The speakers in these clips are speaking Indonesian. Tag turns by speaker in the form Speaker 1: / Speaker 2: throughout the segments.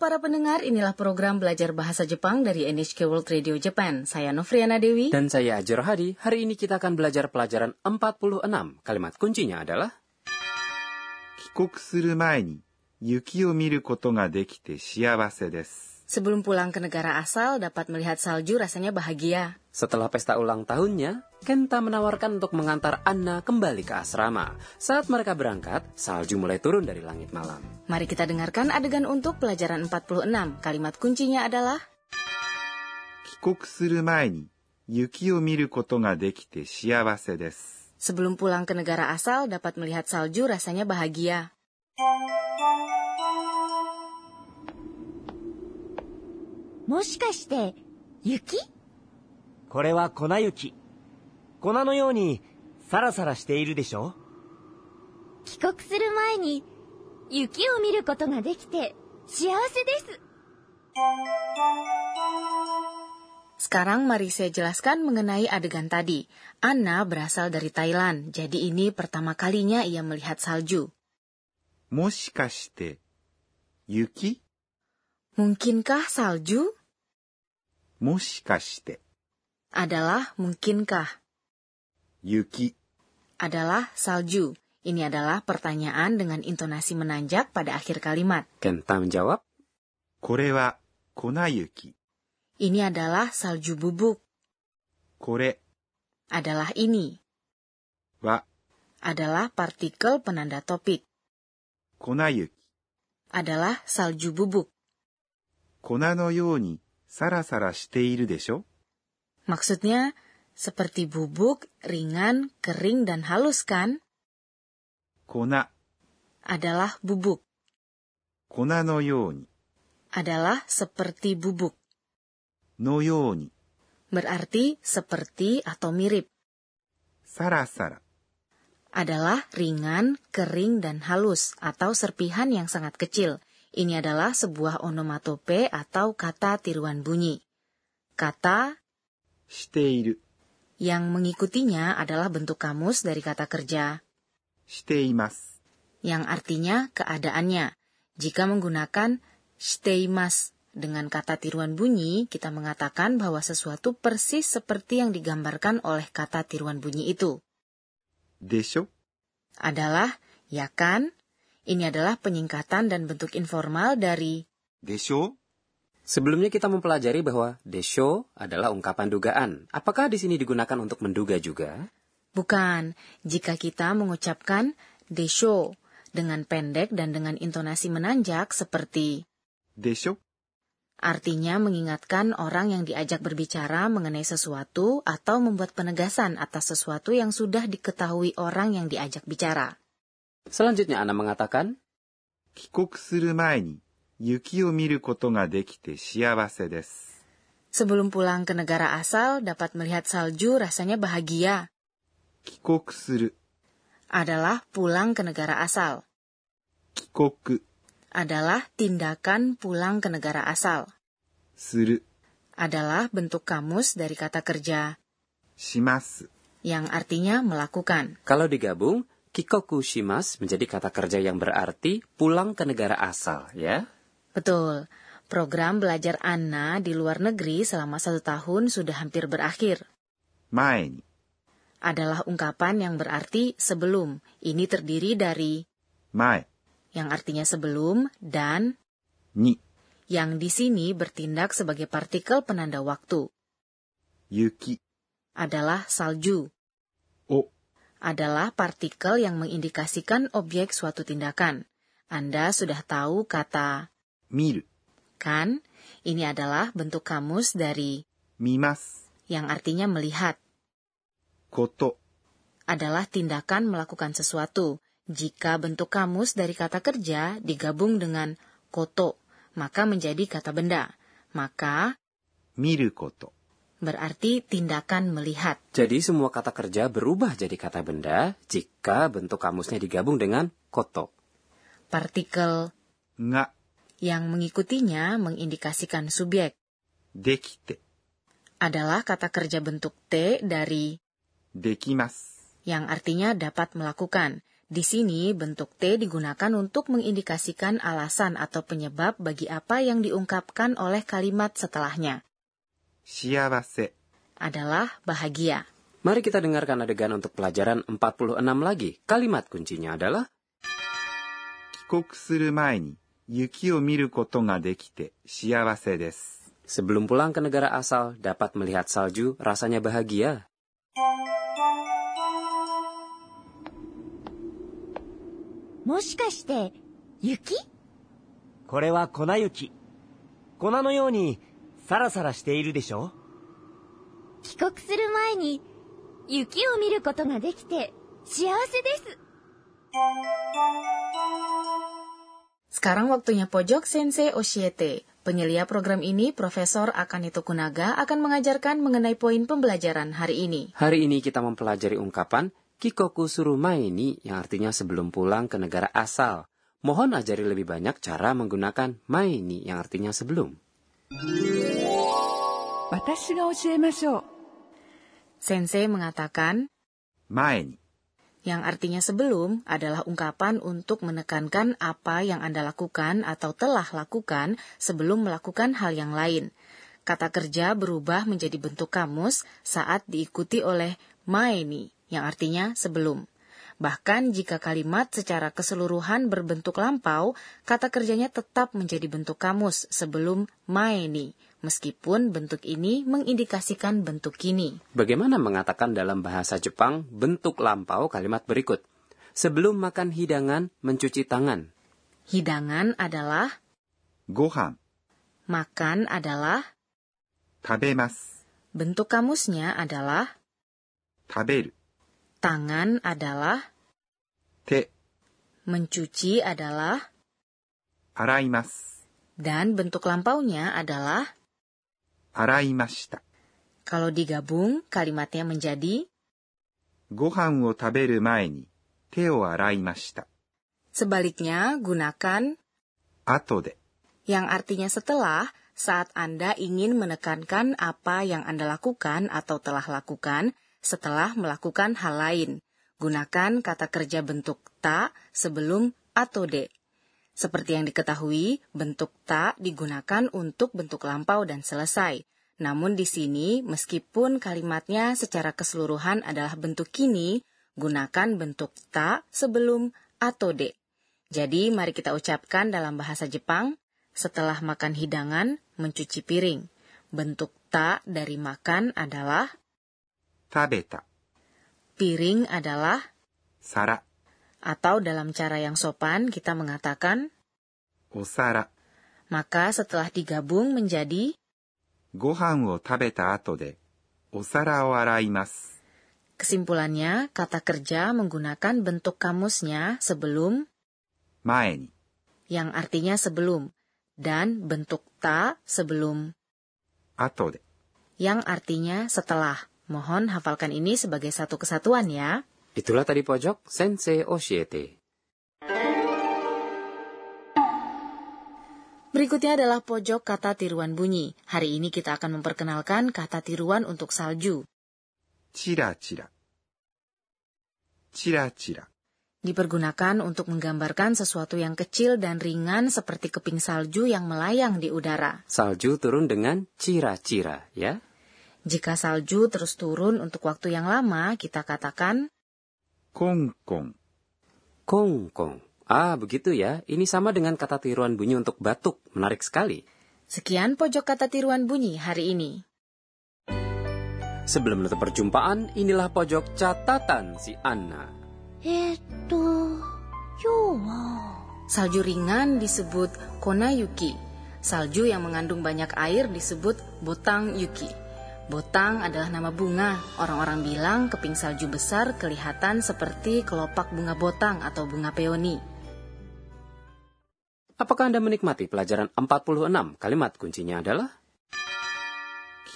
Speaker 1: para pendengar, inilah program belajar bahasa Jepang dari NHK World Radio Japan. Saya Novriana Dewi.
Speaker 2: Dan saya Ajero Hadi. Hari ini kita akan belajar pelajaran 46. Kalimat kuncinya adalah
Speaker 3: 帰国する前に雪を見ることができて幸せです。
Speaker 1: Sebelum pulang ke negara asal, dapat melihat salju rasanya bahagia.
Speaker 2: setelah pesta ulang tahunnya, Kenta menawarkan untuk mengantar Anna kembali ke asrama. Saat mereka berangkat, salju mulai turun dari langit malam.
Speaker 1: Mari kita dengarkan adegan untuk pelajaran 46. Kalimat kuncinya adalah,
Speaker 3: 帰国する前に雪を見ることができて幸せです。
Speaker 1: sebelum pulang ke negara asal, dapat melihat salju rasanya bahagia.
Speaker 4: 「これは粉雪粉のようにサラサラしているでしょ
Speaker 5: 帰国する前に雪を見ることができて幸せです。
Speaker 1: Sekarang mari saya jelaskan mengenai adegan tadi. Anna berasal dari Thailand, jadi ini pertama kalinya ia melihat salju.
Speaker 3: もしかして、雪
Speaker 1: Mungkinkah salju
Speaker 3: もしかして、
Speaker 1: adalah mungkinkah?
Speaker 3: 雪
Speaker 1: adalah salju. Ini adalah pertanyaan dengan intonasi menanjak pada akhir kalimat.
Speaker 2: Kenta menjawab,
Speaker 3: これは粉雪。
Speaker 1: Ini adalah salju bubuk,
Speaker 3: これ
Speaker 1: adalah ini,
Speaker 3: は
Speaker 1: adalah partikel penanda topik,
Speaker 3: 粉雪。
Speaker 1: adalah salju bubuk.
Speaker 3: 粉のようにサラサラしているでしょ
Speaker 1: Maksudnya, seperti bubuk, ringan, kering, dan halus kan?
Speaker 3: 粉、
Speaker 1: Adalah bubuk,
Speaker 3: 粉のように、
Speaker 1: adalah seperti bubuk.
Speaker 3: のように、
Speaker 1: Berarti seperti atau mirip,
Speaker 3: サラサラ、
Speaker 1: adalah ringan, kering, dan halus atau serpihan yang sangat kecil. Ini adalah sebuah onomatope atau kata tiruan bunyi. Kata
Speaker 3: している、
Speaker 1: yang mengikutinya adalah bentuk kamus dari kata kerja,
Speaker 3: しています。
Speaker 1: yang artinya keadaannya. Jika menggunakan mas dengan kata tiruan bunyi, kita mengatakan bahwa sesuatu persis seperti yang digambarkan oleh kata tiruan bunyi itu.
Speaker 3: でしょ
Speaker 1: adalah ya kan? Ini adalah penyingkatan dan bentuk informal dari
Speaker 3: でしょ
Speaker 2: Sebelumnya kita mempelajari bahwa desho adalah ungkapan dugaan. Apakah di sini digunakan untuk menduga juga?
Speaker 1: bukan. Jika kita mengucapkan desho dengan pendek dan dengan intonasi menanjak seperti
Speaker 3: でしょ
Speaker 1: artinya mengingatkan orang yang diajak berbicara mengenai sesuatu atau membuat penegasan atas sesuatu yang sudah diketahui orang yang diajak bicara.
Speaker 2: Selanjutnya Ana mengatakan,
Speaker 3: 帰国する前に雪を見ることができて幸せです。
Speaker 1: Sebelum pulang ke negara asal dapat melihat salju rasanya bahagia
Speaker 3: 帰国する、
Speaker 1: adalah pulang ke negara asal.
Speaker 3: 帰国
Speaker 1: adalah tindakan pulang ke negara asal,
Speaker 3: する、
Speaker 1: adalah bentuk kamus dari kata kerja,
Speaker 3: します。
Speaker 1: yang artinya melakukan.
Speaker 2: kalau digabung, kikoku shimas menjadi kata kerja yang berarti pulang ke negara asal, ya.
Speaker 1: Betul, program belajar Anna di luar negeri selama satu tahun sudah hampir berakhir.
Speaker 3: 前に、
Speaker 1: Adalah ungkapan yang berarti sebelum. Ini terdiri dari
Speaker 3: 前
Speaker 1: yang artinya sebelum dan
Speaker 3: に
Speaker 1: yang di sini bertindak sebagai partikel penanda waktu.
Speaker 3: 雪
Speaker 1: Adalah salju,
Speaker 3: を
Speaker 1: adalah partikel yang mengindikasikan objek suatu tindakan. Anda sudah tahu kata
Speaker 3: 見る、
Speaker 1: kan? Ini adalah bentuk kamus dari
Speaker 3: 見ます、
Speaker 1: yang artinya melihat
Speaker 3: こと、
Speaker 1: adalah tindakan melakukan sesuatu. Jika bentuk kamus dari kata kerja digabung dengan koto, maka menjadi kata benda. Maka
Speaker 3: 見ること、
Speaker 1: berarti tindakan melihat.
Speaker 2: Jadi semua kata kerja berubah jadi kata benda jika bentuk kamusnya digabung dengan koto.
Speaker 1: Partikel
Speaker 3: が
Speaker 1: yang mengikutinya mengindikasikan subjek
Speaker 3: できて、
Speaker 1: adalah kata kerja bentuk T dari
Speaker 3: できます。
Speaker 1: yang artinya dapat melakukan. Di sini, bentuk T digunakan untuk mengindikasikan alasan atau penyebab bagi apa yang diungkapkan oleh kalimat setelahnya,
Speaker 3: 幸せ、
Speaker 1: adalah bahagia.
Speaker 2: Mari kita dengarkan adegan untuk pelajaran 46 lagi. Kalimat kuncinya adalah
Speaker 3: 帰国する前に雪を見ることができて幸せです。
Speaker 2: Sebelum pulang ke negara asal, dapat melihat salju, rasanya bahagia.
Speaker 5: 「もしかして雪
Speaker 4: これは粉雪。粉のようにサラサラしているでしょ
Speaker 5: 帰国する前に雪を見ることができて幸せです」
Speaker 1: Sekarang waktunya pojok Sensei Oshiete. Penyelia program ini, Profesor Akane Tokunaga akan mengajarkan mengenai poin pembelajaran hari ini.
Speaker 2: Hari ini kita mempelajari ungkapan Kikoku Surumai ni yang artinya sebelum pulang ke negara asal. Mohon ajari lebih banyak cara menggunakan mai ni yang artinya sebelum.
Speaker 6: 私が教えましょう
Speaker 1: Sensei mengatakan,
Speaker 3: 前に、
Speaker 1: yang artinya sebelum adalah ungkapan untuk menekankan apa yang Anda lakukan atau telah lakukan sebelum melakukan hal yang lain. Kata kerja berubah menjadi bentuk kamus saat diikuti oleh maeni, yang artinya sebelum. Bahkan jika kalimat secara keseluruhan berbentuk lampau, kata kerjanya tetap menjadi bentuk kamus sebelum maeni, meskipun bentuk ini mengindikasikan bentuk kini.
Speaker 2: Bagaimana mengatakan dalam bahasa Jepang bentuk lampau kalimat berikut? Sebelum makan hidangan, mencuci tangan.
Speaker 1: Hidangan adalah
Speaker 3: ご飯、
Speaker 1: Makan adalah
Speaker 3: 食べます。
Speaker 1: bentuk kamusnya adalah
Speaker 3: 食べる、
Speaker 1: tangan adalah
Speaker 3: 手、
Speaker 1: mencuci adalah
Speaker 3: 洗います。
Speaker 1: dan bentuk lampaunya adalah
Speaker 3: 洗いました。
Speaker 1: kalau digabung kalimatnya menjadi
Speaker 3: ご飯を食べる前に手を洗いました。
Speaker 1: sebaliknya gunakan
Speaker 3: 後で、
Speaker 1: yang artinya setelah saat Anda ingin menekankan apa yang Anda lakukan atau telah lakukan setelah melakukan hal lain. Gunakan kata kerja bentuk ta sebelum atau de. Seperti yang diketahui, bentuk ta digunakan untuk bentuk lampau dan selesai. Namun di sini, meskipun kalimatnya secara keseluruhan adalah bentuk kini, gunakan bentuk ta sebelum atau de. Jadi, mari kita ucapkan dalam bahasa Jepang, setelah makan hidangan, mencuci piring. Bentuk ta dari makan adalah,
Speaker 3: 食べた、
Speaker 1: piring adalah,
Speaker 3: 皿、
Speaker 1: atau dalam cara yang sopan kita mengatakan,
Speaker 3: お皿。
Speaker 1: maka setelah digabung menjadi,
Speaker 3: ご飯を食べた後で、お皿を洗います。
Speaker 1: kesimpulannya kata kerja menggunakan bentuk kamusnya sebelum,
Speaker 3: 前に、
Speaker 1: yang artinya sebelum, dan bentuk ta sebelum,
Speaker 3: 後で、
Speaker 1: yang artinya setelah. Mohon hafalkan ini sebagai satu kesatuan ya.
Speaker 2: Itulah tadi pojok Sensei Oshiete.
Speaker 1: Berikutnya adalah pojok kata tiruan bunyi. Hari ini kita akan memperkenalkan kata tiruan untuk salju.
Speaker 3: チラチラ。チラチラ、
Speaker 1: Dipergunakan untuk menggambarkan sesuatu yang kecil dan ringan seperti keping salju yang melayang di udara.
Speaker 2: Salju turun dengan cira-cira, ya.
Speaker 1: Jika salju terus turun untuk waktu yang lama, kita katakan
Speaker 3: コンコン、
Speaker 2: Kong kong. Ah, begitu ya. Ini sama dengan kata tiruan bunyi untuk batuk. Menarik sekali.
Speaker 1: sekian pojok kata tiruan bunyi hari ini.
Speaker 2: Sebelum menutup perjumpaan, inilah pojok catatan si Anna.
Speaker 5: えーっと今日は
Speaker 1: Salju ringan disebut konayuki. Salju yang mengandung banyak air disebut botang yuki. Botang adalah nama bunga. Orang-orang bilang keping salju besar kelihatan seperti kelopak bunga botang atau bunga peoni.
Speaker 2: Apakah Anda menikmati pelajaran 46? Kalimat kuncinya adalah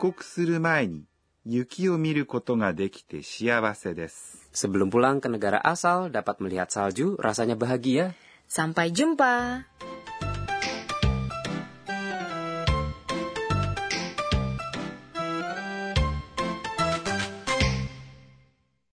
Speaker 3: 帰国する前に雪を見ることができて幸せです。
Speaker 2: Sebelum pulang ke negara asal, dapat melihat salju, rasanya bahagia.
Speaker 1: Sampai jumpa.